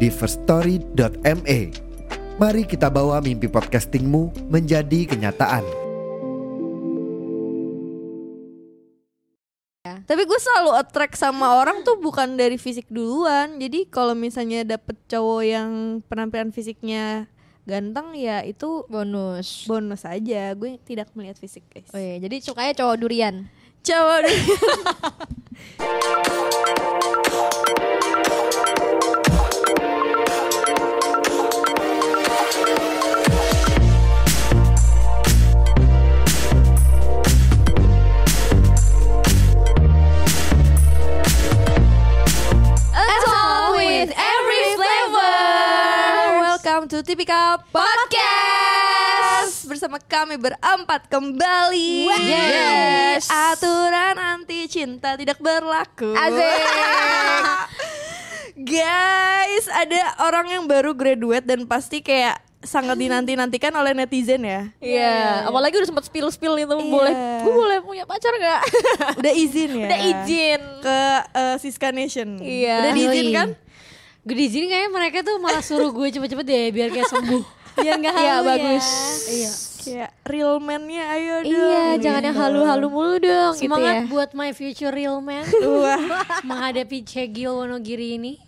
di firststory.me. Mari kita bawa mimpi podcastingmu menjadi kenyataan. Tapi gue selalu attract sama orang tuh bukan dari fisik duluan. Jadi kalau misalnya dapet cowok yang penampilan fisiknya ganteng ya itu bonus. bonus aja. Gue tidak melihat fisik guys. Oh iya, jadi sukanya cowok durian. Cowok dulu. song with every flavor. Welcome to Tipika Podcast Bersama kami berempat kembali Yes. Aturan anti cinta tidak berlaku Asik. Guys, ada orang yang baru graduate dan pasti kayak sangat dinanti-nantikan oleh netizen ya Iya, apalagi udah sempat spill-spill itu Iya. boleh gue boleh punya pacar nggak? Udah izin ya? Udah izin. Ke eh, Siska Nation Iya. Udah diizin kan? Gue diizinin kayaknya mereka tuh malah suruh gue cepet-cepet deh biar kayak sembuh. Biar enggak halu. ya. Iya, bagus. Iya. Kayak real man-nya ayo dong Iya, jangan yang halu-halu mulu dong gitu Semangat ya. buat my future real man Wah. menghadapi Cegil Wonogiri ini.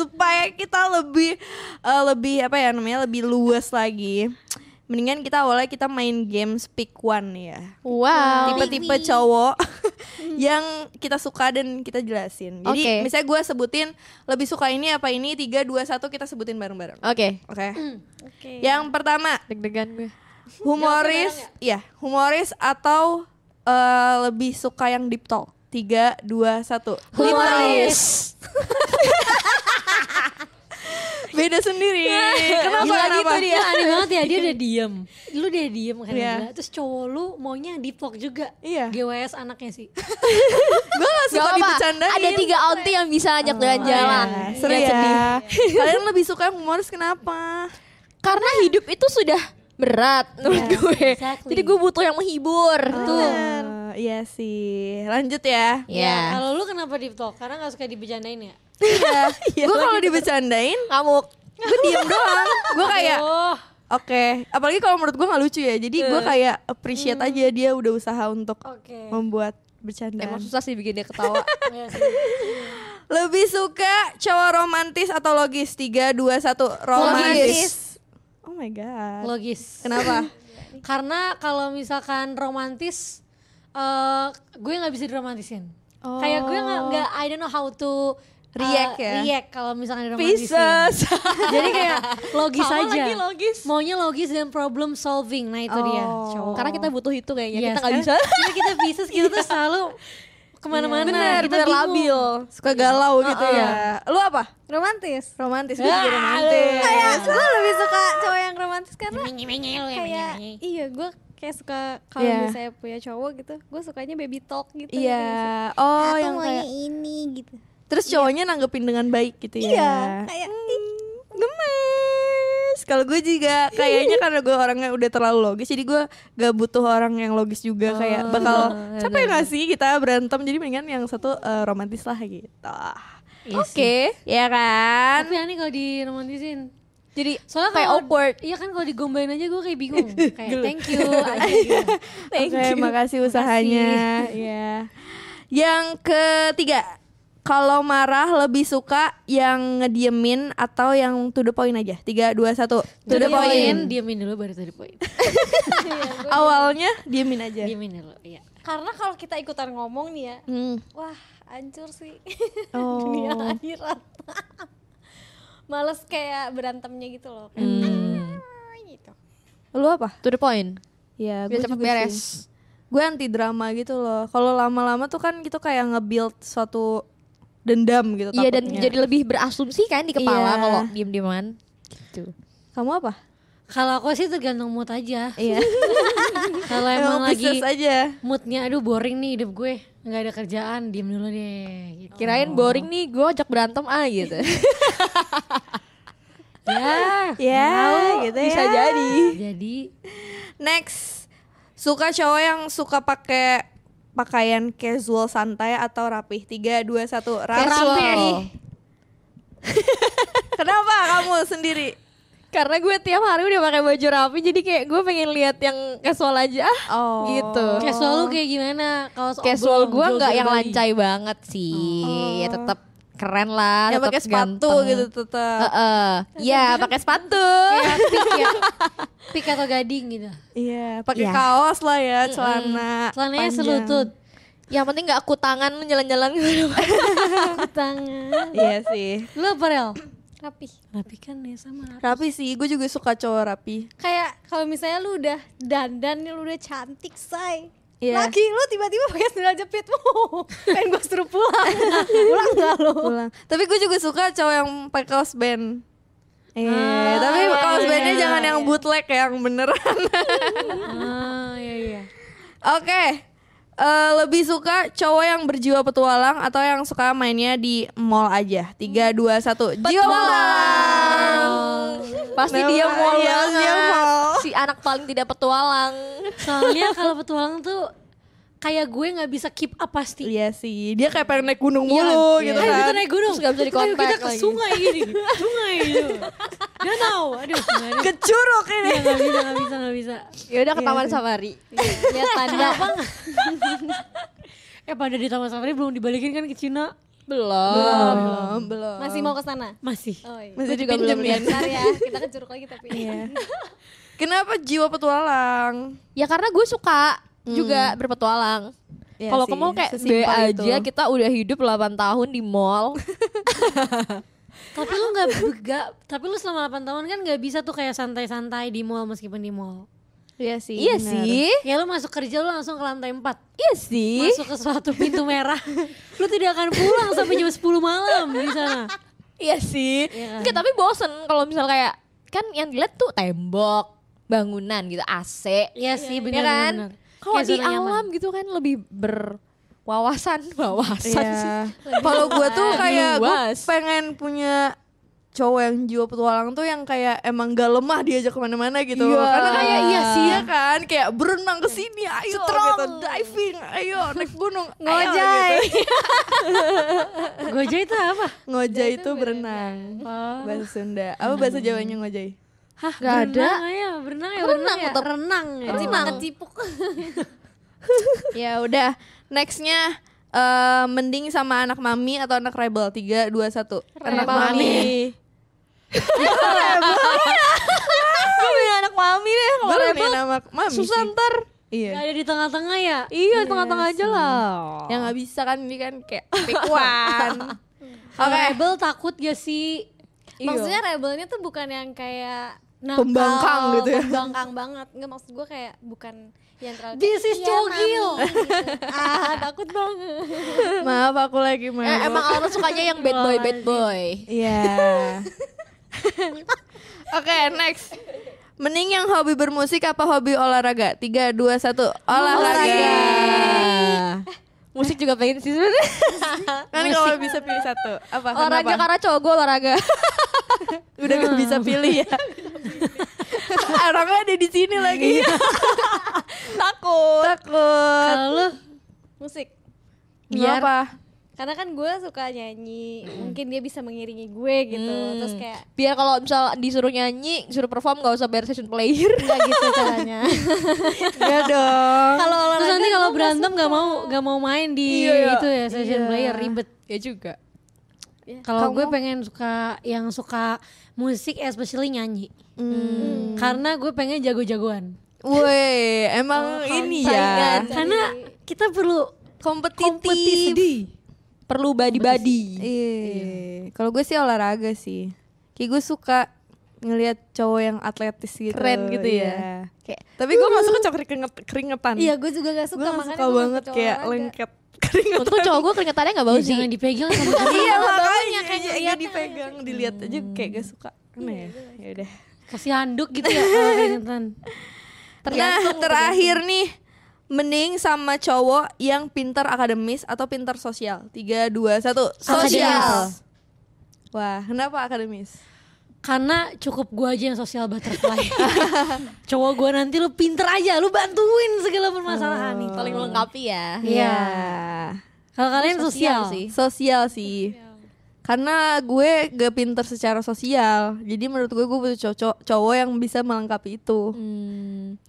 supaya kita lebih eh, lebih apa ya namanya lebih luas lagi. Mendingan kita awalnya kita main game Speak One ya. Wow. Tipe-tipe cowok Hmm. yang kita suka dan kita jelasin. Jadi Oke. misalnya gue sebutin lebih suka ini apa ini tiga dua satu kita sebutin bareng-bareng. Oke. Hmm. Oke. Yang pertama Deg-degan gue. humoris, ya humoris atau eh, lebih suka yang deep talk. Tiga dua satu. Deep talk. Humoris. Beda sendiri. Kenapa? Gila gitu kenapa? dia aneh banget ya dia udah diem. Lu udah diem kan Iya. gila. Terus cowok lu maunya di vlog juga. Iya. GWS anaknya sih. Gue gak suka dibecandain. Ada tiga auntie yang bisa ajak jalan-jalan. Iya, seru ya. Kalian lebih suka yang humoris kenapa? Karena hidup itu sudah berat menurut gue. exactly. Jadi gue butuh yang menghibur. Tuh. Bener. Iya sih. Lanjut ya. Ya. Kalau lu kenapa di vlog? Karena gak suka dibecandain ya? Iya. gue kalau dibecandain, Ngamuk. gue diem doang. Gue Iya. kayak, Oh, oke. Apalagi kalau menurut gue gak lucu ya. Jadi gue kayak appreciate aja dia udah usaha untuk Oke. membuat bercandaan. Emang susah sih bikin dia ketawa. iya sih. Lebih suka cowok romantis atau logis? Tiga, dua, satu. Romantis. Oh my god. Logis. Kenapa? Karena kalau misalkan romantis, eh gue nggak bisa diromantisin. Oh. Kayak gue nggak, nggak, I don't know how to eh, React ya? React kalau misalkan diromantisin. Pieces. Jadi kayak logis Sama aja. lagi logis. Maunya logis dan problem solving. Nah itu dia. Oh. Cowok. Karena kita butuh itu kayaknya. Iya, Yes, kan? Kita nggak bisa. karena- karena kita ya, bisa kita tuh selalu kemana-mana. Iya. Bener, kita bener bingung. labil. Suka galau gitu ya. Lu apa? romantis romantis gue juga romantis Iya. kayak gue lebih suka cowok yang romantis karena Menyel-menyel ya, kayak menyel-menyel. iya gue kayak suka kalau Iya. misalnya punya cowok gitu gue sukanya baby talk gitu ngerti iya nggak sih? oh Aku yang maunya kayak ini gitu terus cowoknya nanggepin dengan baik gitu ya iya kayak Hmm. ih, gemes kalau gue juga kayaknya karena gue orangnya udah terlalu logis jadi gue gak butuh orang yang logis juga kayak bakal capek gak sih kita berantem jadi mendingan yang satu eh, romantis lah gitu Oke. ya kan Tapi aneh kalau diromantisin. Jadi Soalnya kayak kalau awkward. Iya kan kalau digombalin aja gue kayak bingung. Kayak thank you. aja gitu. Oke, makasih usahanya. ya. Yang ketiga, kalau marah lebih suka yang ngediemin atau yang to the point aja. Tiga, dua, satu. To the point. Diamin dulu baru to the point. Awalnya diemin aja. Diamin dulu, iya. karena kalau kita ikutan ngomong nih ya Hmm. wah hancur sih Oh. dunia akhirat males kayak berantemnya gitu loh kayak, Hmm. "Ah," gitu Lu apa? to the point. Ya, Biar gue cepet juga beres. sih. Gue anti drama gitu loh. Kalau lama-lama tuh kan gitu kayak nge-build suatu dendam gitu Iya dan takutnya. jadi lebih berasumsi kan di kepala Iya. kalau diem-dieman. Gitu. kamu apa? Kalau aku sih tergantung mood aja. Iya. Kalau Emang emang lagi Pisces aja. moodnya aduh boring nih hidup gue, nggak ada kerjaan, diem dulu deh. Gitu. Oh. Kirain boring nih gue ajak berantem ah gitu. Ya. Ya, gitu ya. Bisa jadi. Jadi Next, suka cowok yang suka pakai pakaian casual santai atau rapih? Tiga, dua, satu. Casual. Rapih. Kenapa kamu sendiri? Karena gue tiap hari udah pakai baju rapi jadi kayak gue pengen lihat yang casual aja ah, Oh. gitu. casual lu kayak gimana? Kalau Casual gue nggak yang lancar lancai banget sih. Ya tetap keren Yang lah, tetap Ya, pakai sepatu ganteng. gitu tetap. Heeh. Iya, pakai sepatu. Kayak pik ya. Pik atau gading gitu. Iya, pakai Iya. kaos lah ya, celana. Celananya panjang. selutut. Yang penting nggak aku tangan jalan-jalan Aku tangan. Iya sih. Lu apa Rel? rapih Rapi kan ya sama. Rapi sih, gue juga suka cowok rapi. kayak kalau misalnya lu udah dandan lu udah cantik say Iya. laki lu tiba-tiba pakai sandal jepit wow pengen gue suruh pulang pulang nggak lu Pulang. Tapi gue juga suka cowok yang pakai kaos band. Eh, tapi iya, kaos iya, bandnya iya, jangan iya. yang bootleg yang beneran. Ah, iya iya. Oke. eh, lebih suka cowok yang berjiwa petualang atau yang suka mainnya di mall aja? 3 2 1. Jiwa petualang. Pasti Kenapa? dia mau Iya, dia mau. banget. Si anak paling tidak petualang. Soalnya kalau petualang tuh kayak gue nggak bisa keep up pasti. Iya sih, dia kayak pengen naik gunung Iya, mulu iya. gitu Ayo kita kan. naik gunung. Terus nggak bisa Ayo kita dikontak ke lagi. sungai gini. sungai itu. Danau. Aduh, nggak ada. Ke curug ini. Iya, nggak bisa, nggak bisa, nggak bisa. Ya Iya. udah ke Taman Safari. Ya, lihat tanda Eh pada di Taman Safari belum dibalikin kan ke Cina? Belum. Belum, belum. masih mau ke sana Masih. oh masih iya Iya. Gue juga juga belum belum lihat. Bentar ya kita ke curug lagi tapi Kenapa jiwa petualang? Ya karena gue suka juga berpetualang. Iya Kalau ke sih, mall kayak B sesimpel itu. aja gitu. kita udah hidup 8 tahun di mall. Tapi lu nggak nggak- tapi lu selama 8 tahun kan nggak bisa tuh kayak santai-santai di mall meskipun di mall. Iya sih. iya benar. sih. Ya lu masuk kerja lu langsung ke lantai 4 Iya sih. Masuk ke suatu pintu merah Lu tidak akan pulang sampai jam 10 malam di sana Iya sih. Iya. Enggak, tapi bosen kalau misal kayak kan yang dilihat tuh tembok, bangunan gitu, AC. Iya Ya sih benar kan? benar. Kalau Kayak di zona nyaman. alam gitu kan lebih berwawasan, wawasan Iya. sih. Kalau gue tuh Lebih kayak gue luas. pengen punya cowok yang jiwa petualang tuh yang kayak emang gak lemah diajak kemana-mana gitu Iya. karena kayak iya sih ya kan kayak berenang ke sini ayo gitu diving ayo naik gunung ayo, Ngojay. gitu. Gojek itu apa? ngojay Iya, itu Oh. berenang bahasa Sunda apa bahasa Jawanya ngojay Hah, Nggak ada. berenang ya, berenang ya, berenang, Renang ya. atau- renang ya. cipuk kecipuk ya udah nextnya eh, mending sama anak mami atau anak rebel tiga dua satu anak mami Gue punya anak mami deh kalau baru nih rebel. nama mami sih. Susah ntar. iya Nggak ada di tengah-tengah ya. Iya, tengah-tengah aja lah. yang nggak bisa kan ini kan kayak pikuan Kalau Oke. Rebel takut gak sih? Iya. maksudnya rebelnya tuh bukan yang kayak nakal, Pembangkang gitu ya. pembangkang banget nggak maksud gue kayak bukan yang terlalu This is "Iya, cogil." Mami," gitu. ah takut banget maaf aku lagi main Eh, emang Alma sukanya yang bad boy, bad boy. Iya. Oke, next. Mending yang hobi bermusik apa hobi olahraga? 3 2 1. Olahraga. Musik juga pengen sih sebenarnya. Kan kalau bisa pilih satu, apa? olahraga Kenapa? karena cowok gue olahraga. Udah gak bisa pilih ya. Orangnya ada di sini lagi. Takut. Iya. Takut. Kalau lu musik Biar apa? karena kan gue suka nyanyi mungkin dia bisa mengiringi gue gitu terus kayak Biar kalau misal disuruh nyanyi, disuruh perform gak usah bayar session player. nggak gitu caranya Enggak Iya dong. kalau terus olahraga nanti kalau gua nggak berantem suka. gak mau gak mau main di Iya, iya. itu ya session Iya. player ribet. ya juga. Kalau gue pengen suka yang suka musik especially nyanyi. Hmm. Karena gue pengen jago-jagoan. Woi, emang ini ya. Karena kita perlu Kompetitif. kompetisi. Perlu body-body. Gitu. Iya. Kalau gue sih olahraga sih. Kayak gue suka ngelihat cowok yang atletis gitu. Keren gitu ya. Iya. Kayak- Tapi gue gak suka cowok keringet, keringetan. Iya, gue juga gak suka gue gak makanya suka gua nggak banget cowok kayak olahraga. lengket keringetan. Untung cowok gue keringetannya gak bau Bau sih. jangan dipegang sama iya makanya baunya kayak kayak ya, ngeliat dipegang dilihat aja kayak gak suka. Kenapa ya? Ya udah. kasih handuk gitu ya kalau keringetan. Nah, terakhir nih mending sama cowok yang pintar akademis atau pintar sosial. 3 2 1. Sosial. Akademis. Wah, kenapa akademis? Karena cukup gua aja yang sosial butterfly. Cowok gua nanti lu pinter aja, lu bantuin segala permasalahan gitu. nih. Paling melengkapi ya. Iya. Kalau kalian Sosial sosial, sih. Sosial sih. Karena gue gak pintar secara sosial. Jadi menurut gue gue butuh cowok cowok yang bisa melengkapi itu.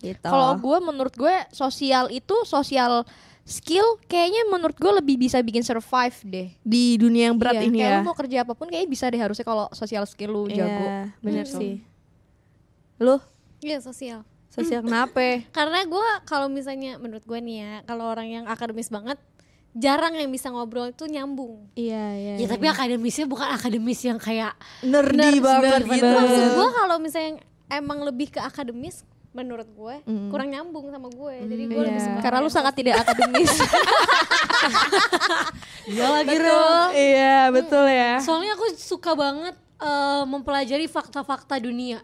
Gitu. Hmm. Kalau gue menurut gue sosial itu sosial skill kayaknya menurut gue lebih bisa bikin survive deh. di dunia yang berat Iya, ini kayak ya. lu mau kerja apapun kayaknya bisa deh harusnya kalau sosial skill lu Iya, jago. bener Gitu. sih. Lu Iya, sosial. sosial kenapa? Karena gue kalau misalnya menurut gue nih ya, kalau orang yang akademis banget jarang yang bisa ngobrol itu nyambung. Iya, iya. Ya tapi akademisnya bukan akademis yang kayak nerdy banget gitu. Maksud gue kalau misalnya emang lebih ke akademis menurut gue Mm. kurang nyambung sama gue. Jadi gue Iya. lebih suka Karena lu yang sangat tidak akademis. Iya lagi Rul. Iya, betul ya. Soalnya aku suka banget eh, mempelajari fakta-fakta dunia.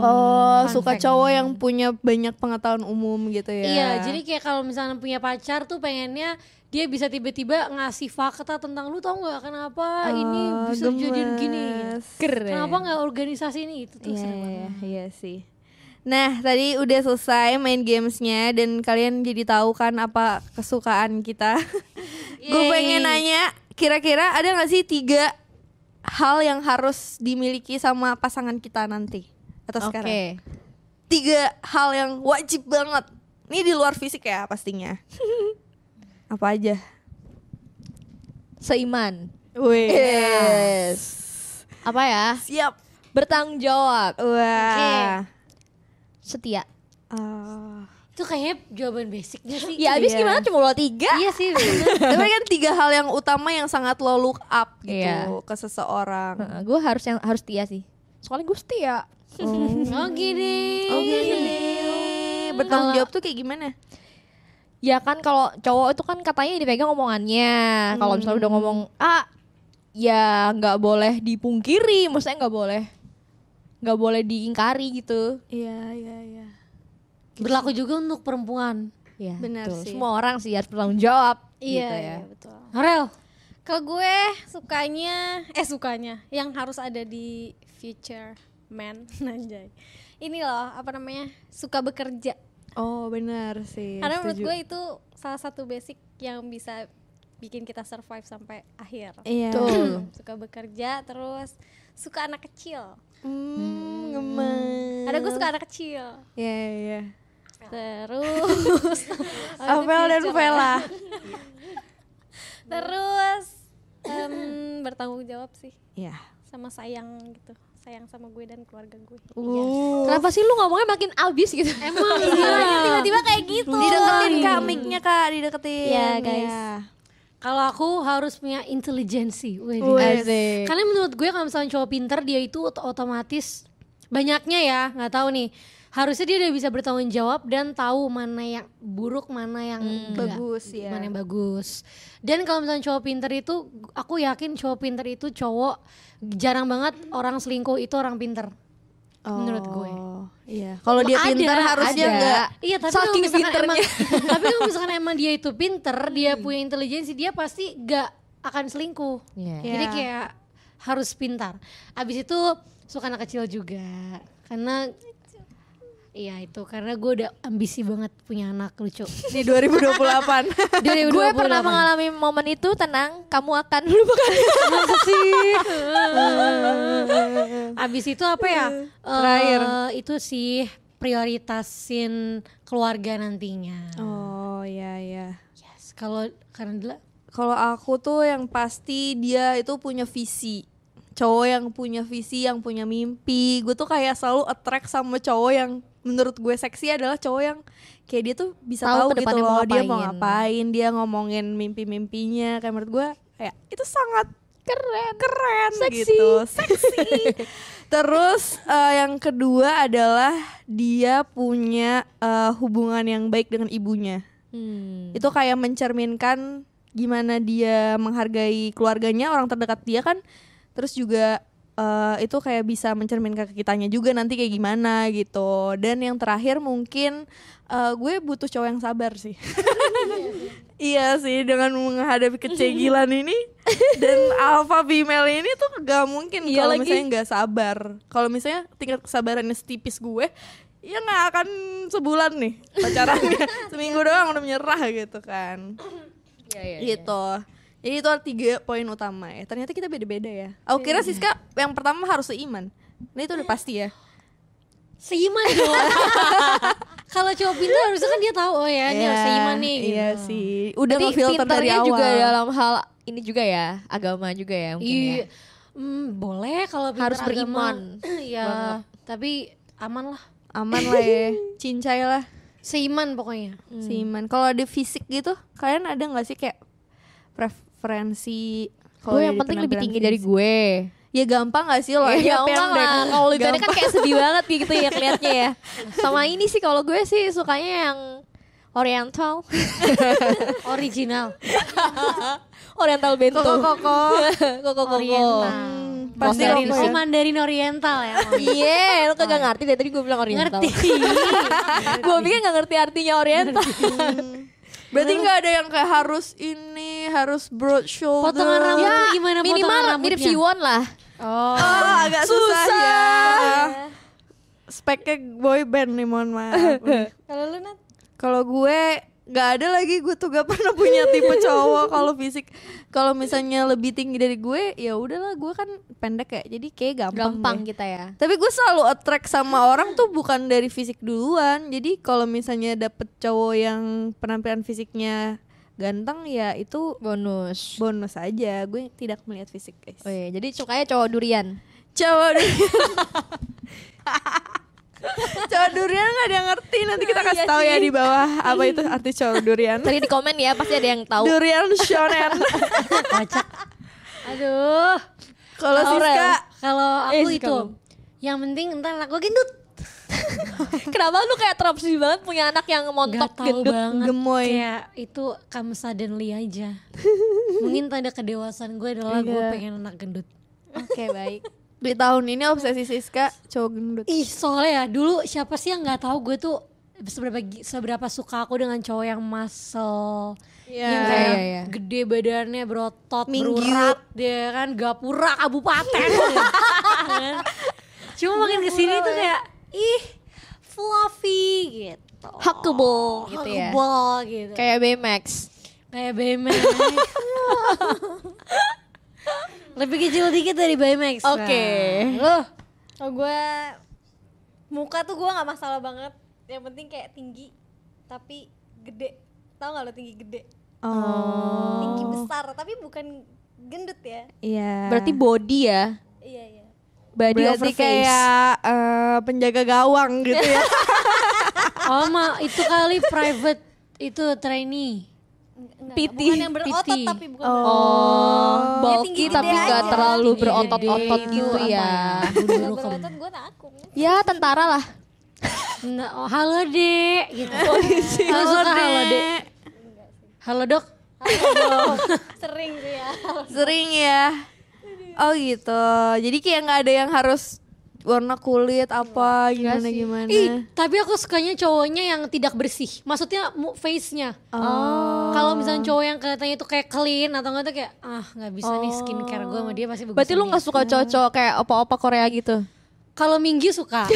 Oh, Fun suka fact. cowok yang punya banyak pengetahuan umum gitu ya. Iya, jadi kayak kalau misalnya punya pacar tuh pengennya dia bisa tiba-tiba ngasih fakta tentang lu tau nggak kenapa ini Oh, bisa jadian gini. gemes. Ah, Keren. Kenapa Iya, nggak organisasi ini gitu itu tuh Iya, sering banget. iya, iya sih. Nah, tadi udah selesai main gamesnya dan kalian jadi tahu kan apa kesukaan kita. Gue Yeay. pengen nanya, kira-kira ada nggak sih tiga hal yang harus dimiliki sama pasangan kita nanti atau Oke. sekarang? Tiga hal yang wajib banget. Ini di luar fisik ya pastinya. apa aja? Seiman. Yes. Apa ya? Siap. Bertanggung jawab. Wah. Setia. Ah. Itu kayaknya jawaban basicnya sih. Ya abis Iya. gimana cuma lo tiga? Iya sih. bener. Tapi kan tiga hal yang utama yang sangat lo look up gitu Iya. ke seseorang. Heeh, gue harus yang harus setia sih. Soalnya gue setia. Oh gini. Oh gini. Bertanggung iya. jawab tuh kayak gimana? Ya kan kalau cowok itu kan katanya dipegang omongannya. Kalau misalnya udah ngomong ah ya nggak boleh dipungkiri, maksudnya nggak boleh nggak boleh diingkari gitu. Iya, iya, iya. Berlaku juga untuk perempuan. Ya, Benar betul. sih. Semua orang sih harus bertanggung jawab. Iya, gitu iya ya. betul. Norel, Ke gue sukanya eh sukanya yang harus ada di future man anjay. Ini loh apa namanya? suka bekerja. Oh, benar sih. Karena menurut gue itu salah satu basic yang bisa bikin kita survive sampai akhir. Iya. suka bekerja terus suka anak kecil. Hmm, gemes. Ada gue suka anak kecil. Iya, iya, iya. Ya. Terus Apel dan Vela. terus em, bertanggung jawab sih Iya. sama sayang gitu. Sayang sama gue dan keluarga gue. Kenapa sih lu ngomongnya makin abis gitu? Emang Tiba-tiba kayak gitu. Dideketin kak mic-nya kak, dideketin. Iya, guys. Iya. kalau aku harus punya intelijensi. Wih, Asik. Karena menurut gue kalau misalnya cowok pinter dia itu ot- otomatis banyaknya ya nggak tahu nih harusnya dia udah bisa bertanggung jawab dan tahu mana yang buruk mana yang enggak, Bagus, ya. mana yang bagus dan kalau misalnya cowok pinter itu aku yakin cowok pinter itu cowok jarang banget orang selingkuh itu orang pinter menurut gue Oh, Iya. Kalau dia Ada, pintar harusnya ada. enggak. Iya, tapi Saking kalau misalkan pinternya. Hmm. emang tapi kalau misalkan emang dia itu pinter, dia punya intelijensi, dia pasti gak akan selingkuh. Iya. Jadi Iya. kayak harus pintar. Abis itu suka anak kecil juga. Karena Iya itu karena gue udah ambisi banget punya anak lucu. Di 2028. Dari gue pernah mengalami momen itu tenang kamu akan lupakan Abis itu apa ya? Terakhir. Eh, itu sih prioritasin keluarga nantinya. Oh iya iya. Yes, kalau karena dulu- Kalau aku tuh yang pasti dia itu punya visi. Cowok yang punya visi, yang punya mimpi. Gue tuh kayak selalu attract sama cowok yang menurut gue seksi adalah cowok yang kayak dia tuh bisa Tahu tahu, gitu ke depannya loh mau dia mau ngapain. ngapain, dia ngomongin mimpi-mimpinya. Kayak menurut gue kayak itu sangat keren, keren Seksi. gitu, seksi. Terus eh, yang kedua adalah dia punya eh, hubungan yang baik dengan ibunya. Hmm. Itu kayak mencerminkan gimana dia menghargai keluarganya, orang terdekat dia kan. Terus juga eh, itu kayak bisa mencerminkan ke kitanya juga nanti kayak gimana gitu. Dan yang terakhir mungkin eh, gue butuh cowok yang sabar sih. Iya sih dengan menghadapi kecegilan ini dan alpha female ini tuh gak mungkin kalau Iya lagi. misalnya nggak sabar. Kalau misalnya tingkat kesabarannya setipis gue, ya nggak akan sebulan nih pacarannya. Seminggu doang udah menyerah gitu kan. Iya, gitu. Jadi itu ada tiga poin utama ya. Ternyata kita beda-beda ya. Iya. Aku kira Siska yang pertama harus seiman. Nah itu udah pasti ya. Seiman dong. Kalau cowok pintar harusnya kan dia tahu oh Iya, ya, ini harus seiman nih. gitu. Iya sih. Udah Berarti ngefilter dari pinternya awal. juga ya, dalam hal ini juga ya, agama juga ya mungkin Iya. ya. Hmm, boleh kalau pintar Harus beriman. agama. Iya, Banget. tapi aman lah. Aman lah ya. Cincai lah. Seiman pokoknya. Hmm. Seiman. Kalau di fisik gitu, kalian ada nggak sih kayak preferensi? Gue Oh, yang penting lebih tinggi dari gue. gue. Ya gampang gak sih lo? ya aja gampang pendek? lah. Kalau lu gak ada kan Gampang. kayak sedih banget gitu ya kelihatnya ya. Sama ini sih kalau gue sih sukanya yang Oriental. Original. Oriental bento. Koko koko. Koko Oriental. Pasti Dari koko Mandarin, oh ya. Mandarin Oriental ya. Om. Iya, lu kagak ngerti dari tadi gue bilang Oriental. Ngerti. gue pikir gak ngerti artinya Oriental. Berarti nggak ada yang kayak harus ini, harus broad shoulder. Potongan rambut Ya. tuh gimana Minimal potongan mirip rambutnya? Siwon lah. Ah, agak susah, ya. Speknya boy band nih mohon maaf. Nah. Kalau lu Nat? Kalau gue nggak ada lagi gue tuh gak pernah punya tipe cowok kalau fisik kalau misalnya lebih tinggi dari gue ya udahlah gue kan pendek ya jadi kayak gampang, Gampang deh. kita ya. tapi gue selalu attract sama orang tuh bukan dari fisik duluan jadi kalau misalnya dapet cowok yang penampilan fisiknya ganteng ya itu Bonus. bonus aja gue tidak melihat fisik guys Oh iya, jadi sukanya cowok durian. cowok durian cowok durian nggak ada yang ngerti nanti kita kasih tahu ya di bawah apa itu arti cowok durian Tadi di komen ya, pasti ada yang tahu. durian shonen Aduh. kalau Siska Kalau Eh, aku Siska itu belum. yang penting entar anak gue gendut. Kenapa lu kayak terobsesi banget punya anak yang montok Gatal gendut? banget. gemoy. Kayak itu come suddenly aja. Mungkin tanda kedewasaan gue adalah gue Iya. pengen anak gendut. Oke, baik. di tahun ini obsesi Siska cowok gendut Ih soalnya ya dulu siapa sih yang nggak tahu gue tuh seberapa gi- seberapa suka aku dengan cowok yang muscle Iya. yang kayak Iya, iya. gede badannya berotot Minggu. berurat dia kan gapura kabupaten Kan? cuma makin kesini tuh iya. kayak ih fluffy gitu Oh, Huggable gitu ya. huggable gitu Kayak BMX. kayak BMX lebih kecil dikit dari BMX Oke Nah. Loh. Kalau gue muka tuh gue nggak masalah banget. Yang penting kayak tinggi tapi gede. Tahu nggak lo tinggi gede? oh Tinggi besar tapi bukan gendut ya. iya Berarti body ya. Iya iya. Body berarti over face. kayak eh, penjaga gawang gitu ya Oh ma, itu kali private itu trainee. Enggak, Piti. Bukan yang berotot Piti. tapi bukan Oh, tinggi bulky gede tapi nggak aja. Iya, terlalu Gede, berotot-otot gede, gitu apa ya. Bulu berotot. Kalau rukam. berotot gue takut. Ya, tentara lah. Nggak, oh, halo dek gitu. Lu suka halo dek. Halo dok. Sering sih ya. sering ya oh gitu jadi kayak nggak ada yang harus warna kulit apa gimana gimana Ih, Nah. tapi aku sukanya cowoknya yang tidak bersih. Maksudnya mu- face-nya. oh Kalau misalnya cowok yang kelihatannya itu kayak clean atau enggak tuh kayak ah nggak bisa nih skincare gue sama dia pasti bagus. Berarti lu nggak suka cowok-cowok kayak opa-opa Korea gitu? Kalau Minggi suka.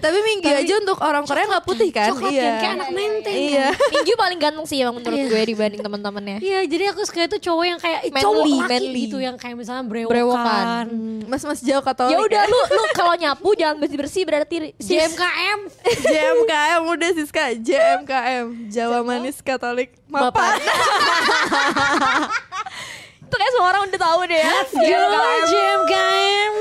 tapi minggu aja untuk orang Korea nggak putih kan Coklat iya kan kayak anak menteng. kan? iya Minggu paling ganteng sih emang menurut gue dibanding teman-temannya. Iya, jadi aku suka itu cowok yang kayak eh, Manly, cowok laki manly. gitu yang kayak misalnya brewokan. Brewokan. Hmm, mas mas jauh kata Ya udah lu lu kalau nyapu jangan bersih-bersih berarti sis. JMKM. JMKM udah Siska JMKM Jawa Manis Katolik Mapan Itu kayak semua orang udah tahu deh ya. Jawa JMKM.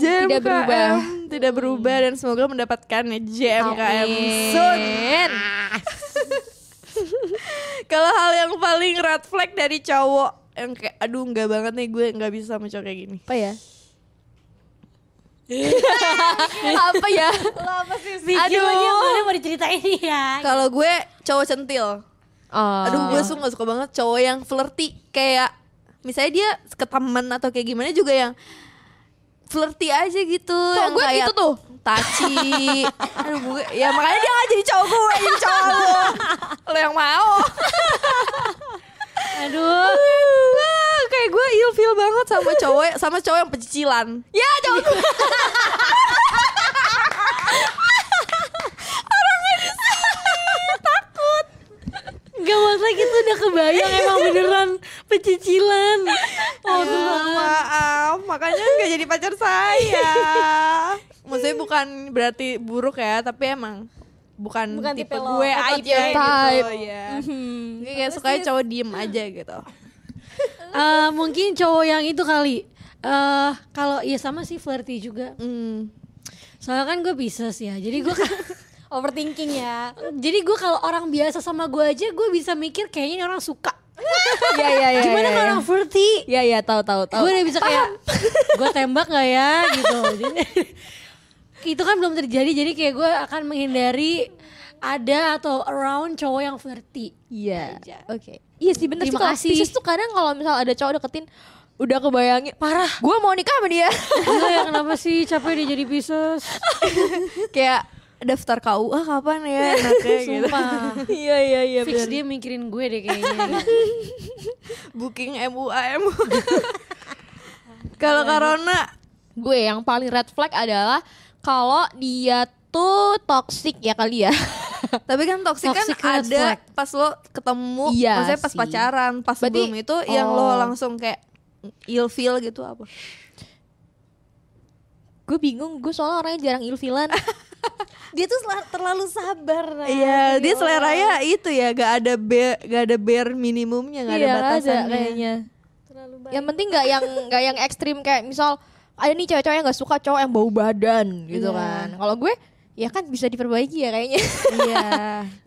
JMKM Tidak berubah. tidak berubah dan semoga mendapatkan JMKM Amin. soon kalau hal yang paling red flag dari ya? cowok yang kayak aduh enggak banget nih gue nggak bisa sama cowok kayak gini Apa ya? apa ya? Lo apa sih? Aduh. Aduh. lagi yang mana mau diceritain ya. Kalau gue cowok centil. Oh. Aduh gue suka gak suka banget cowok yang flirty kayak misalnya dia ke teman atau kayak gimana juga yang flirty aja gitu. yang gue kayak gitu tuh. Taci. Aduh gue ya makanya dia gak jadi cowok gue, jadi cowok lo. Lo yang mau. Aduh. Wah, kayak gue ilfeel banget sama cowok sama cowok yang pecicilan. Ya cowok gue. Gak masalah gitu udah kebayang emang beneran pecicilan. Eh, Oh, Aduh, maaf, makanya nggak jadi pacar saya. Maksudnya bukan berarti buruk ya, tapi emang bukan, Bukan tipe, tipe lo, gue atau aib dia ya gitu. gitu ya. Gue kayak suka cowok diem aja gitu. Eh, mungkin cowok yang itu kali. Eh kalau ya sama sih flirty juga. Hmm. Soalnya kan gue Pisces ya. Jadi gue Overthinking ya. jadi gue kalau orang biasa sama gue aja gue bisa mikir kayaknya ini orang suka. Iya iya iya. Gimana iya, kalau iya. orang flirty? Iya iya tahu tahu tahu. Gue udah bisa kayak gue tembak gak ya gitu. Jadi, itu kan belum terjadi jadi kayak gue akan menghindari ada atau around cowok yang flirty. Iya. Oke. Iya sih bener sih Terima kalau kasih. Pisces tuh kadang kalau misal ada cowok deketin udah kebayangin Parah. gue mau nikah sama dia Gila ya kenapa sih capek dia jadi Pisces? Kayak daftar KUA kapan ya enaknya gitu. Sumpah. iya iya iya Fix dia mikirin gue deh kayaknya. Booking MUA MUA. Kalau Corona gue yang paling red flag adalah kalau dia tuh toxic ya kali ya Tapi kan toksik kan Toxic red ada flag. pas lo ketemu, Iya maksudnya pas sih. pacaran, pas Berarti- sebelum itu yang lo oh. langsung kayak ill feel gitu apa? gue bingung gue soalnya orangnya jarang ilfilan Dia tuh sel- terlalu sabar. Nah. Iya, dia seleranya itu ya, gak ada be, gak ada bare minimumnya, gak ada Iya, nggak ada batasannya. kayaknya Terlalu Ya, baik. yang penting nggak yang nggak yang ekstrim kayak misal ada nih cewek-cewek yang nggak suka cowok yang bau badan gitu kan kalau gue ya kan bisa diperbaiki ya kayaknya Iya.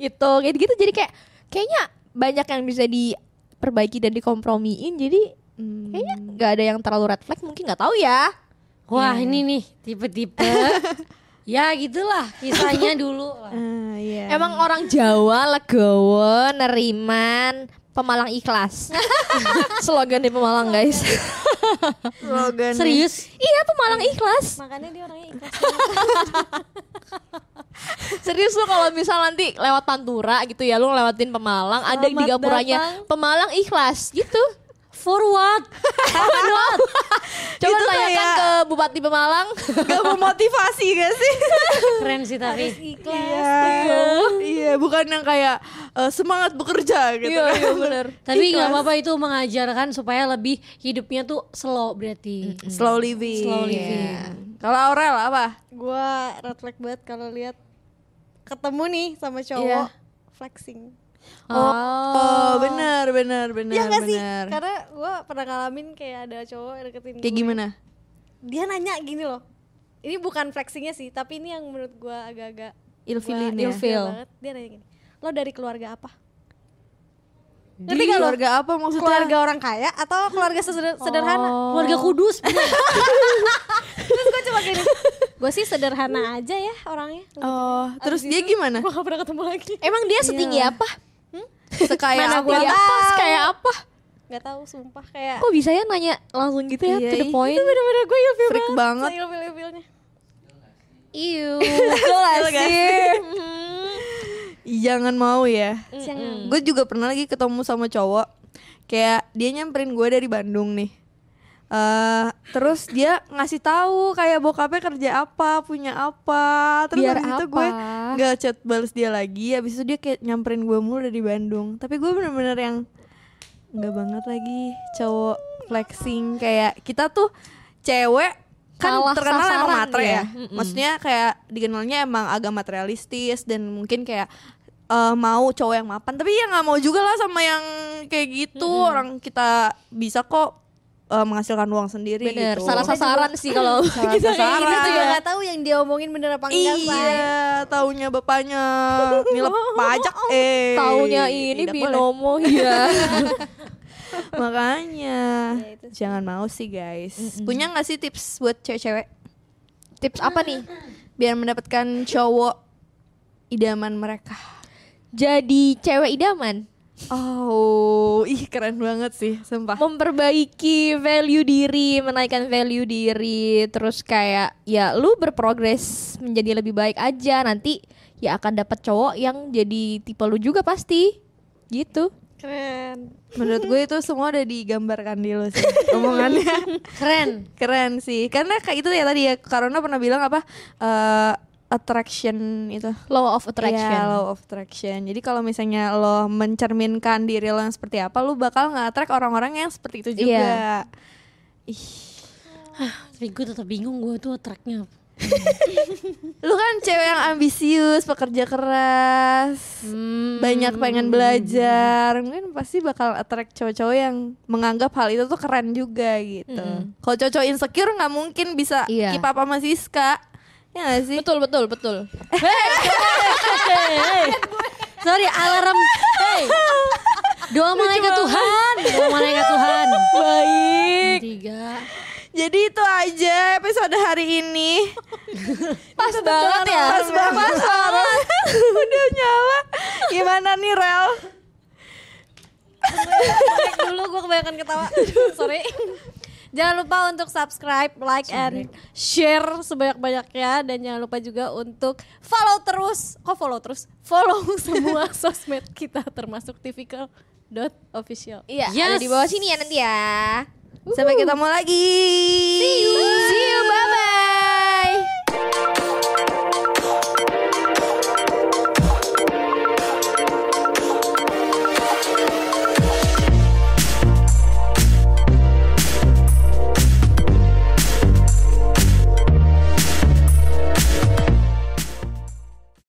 gitu kayak gitu jadi kayak kayaknya banyak yang bisa diperbaiki dan dikompromiin jadi Hmm. kayaknya nggak ada yang terlalu red flag mungkin nggak tahu ya Wah ini nih tipe-tipe Ya gitulah kisahnya dulu lah. Ah, iya. Emang orang Jawa legowo, neriman, pemalang ikhlas. Slogan di Pemalang, guys. slogan Serius iya, pemalang ikhlas. Makanya dia orangnya ikhlas. Serius lu kalau misal nanti lewat Pantura gitu ya, lu lewatin Pemalang, ada di Selamat gapuranya datang. Pemalang ikhlas gitu. for what? Coba Itu tanyakan kayak- ke Bupati Pemalang. gak memotivasi gak sih? Keren sih Harus tapi ikhlas. Iya, iya bukan yang kayak eh, semangat bekerja gitu. Iya, iya, bener. Tapi nggak apa-apa itu mengajarkan supaya lebih hidupnya tuh slow berarti Slow living. Slow living. Iya. Kalau Aurel apa? Gue red flag banget kalau lihat ketemu nih sama Iya. cowok flexing. Oh, benar benar benar Iya gak sih? benar. Karena gue pernah ngalamin kayak ada cowok deketin Kayak gue. gimana? Dia nanya gini loh. Ini bukan flexingnya sih, tapi ini yang menurut gue agak-agak Ilfilin Wah, ya. ilfeel banget. Dia nanya gini, lo dari keluarga apa? Ngerti gak keluarga apa maksudnya? Keluarga orang kaya atau keluarga seder- sederhana? Keluarga kudus Terus gue cuma gini, gue sih sederhana aja ya orangnya. Oh, terus dia gimana? Gue gak pernah ketemu lagi. Emang dia setinggi apa? Sekaya Mana apa? gua apa? Kayak apa? Gak tahu, sumpah kayak Kok bisa ya nanya langsung gitu ya to Iya, the point? Itu bener-bener gue ilfil Freak banget. seilfil-ilfilnya. Iu. Gak sih? Jangan mau ya. Jangan. Hmm. Gue juga pernah lagi ketemu sama cowok. Kayak dia nyamperin gue dari Bandung nih. eh terus dia ngasih tahu kayak bokapnya kerja apa, punya apa. Terus Biar habis itu apa? gue nggak chat balas dia lagi. Habis itu dia kayak nyamperin gue mulu dari Bandung. Tapi gue bener-bener yang nggak banget lagi cowok flexing kayak kita tuh cewek kan Salah terkenal emang sasaran matre ya. ya. Maksudnya kayak dikenalnya emang agak materialistis dan mungkin kayak eh, mau cowok yang mapan. Tapi ya nggak mau juga lah sama yang kayak gitu. Orang kita bisa kok eh, menghasilkan uang sendiri. Bener, gitu. salah sasaran sih kalau Salah sasaran. Kita juga gak tahu yang dia omongin bener apa enggak, Shay. kan. Iya, taunya bapaknya nilep pajak eh. taunya ini Tidak boleh. binomo ya. Makanya jangan mau sih guys. Punya nggak sih tips buat cewek-cewek? Tips apa nih? biar mendapatkan cowok idaman mereka. Jadi cewek idaman, Oh, ih keren banget sih, sumpah. memperbaiki value diri, menaikkan value diri, terus kayak ya lu berprogres menjadi lebih baik aja nanti ya akan dapat cowok yang jadi tipe lu juga pasti. Gitu. Keren. Menurut gue itu semua udah digambarkan di lu sih omongannya. Keren. Keren sih. Karena kayak itu ya tadi ya Karona pernah bilang apa eh, attraction itu. Law of attraction. Iya, law of attraction. Jadi kalau misalnya lo mencerminkan diri lo yang seperti apa, lo bakal nge-attract orang-orang yang seperti itu juga. Iya. Tapi gue tetap bingung gue tuh tracknya apa. Lu kan cewek yang ambisius, pekerja keras, Hmm. banyak pengen belajar. Mungkin pasti bakal attract cowok-cowok yang menganggap hal itu tuh keren juga gitu. Kalau cowok-cowok insecure nggak mungkin bisa Hmm. Iya. keep up sama Siska. Ya gak sih? Betul, betul, betul. Sorry alarm. Hey. Doa malaikat Tuhan. Doa malaikat Tuhan. Baik. Tiga. Jadi itu aja episode hari ini. Pas banget ya. Pas banget. Udah nyala. Gimana nih Rel? dulu gue kebanyakan ketawa sorry jangan lupa untuk subscribe like and share sebanyak banyaknya dan jangan lupa juga untuk follow terus kok follow terus follow semua sosmed kita termasuk typical dot official Iya, Yes. ada di bawah sini ya nanti ya. Sampai ketemu lagi. See you.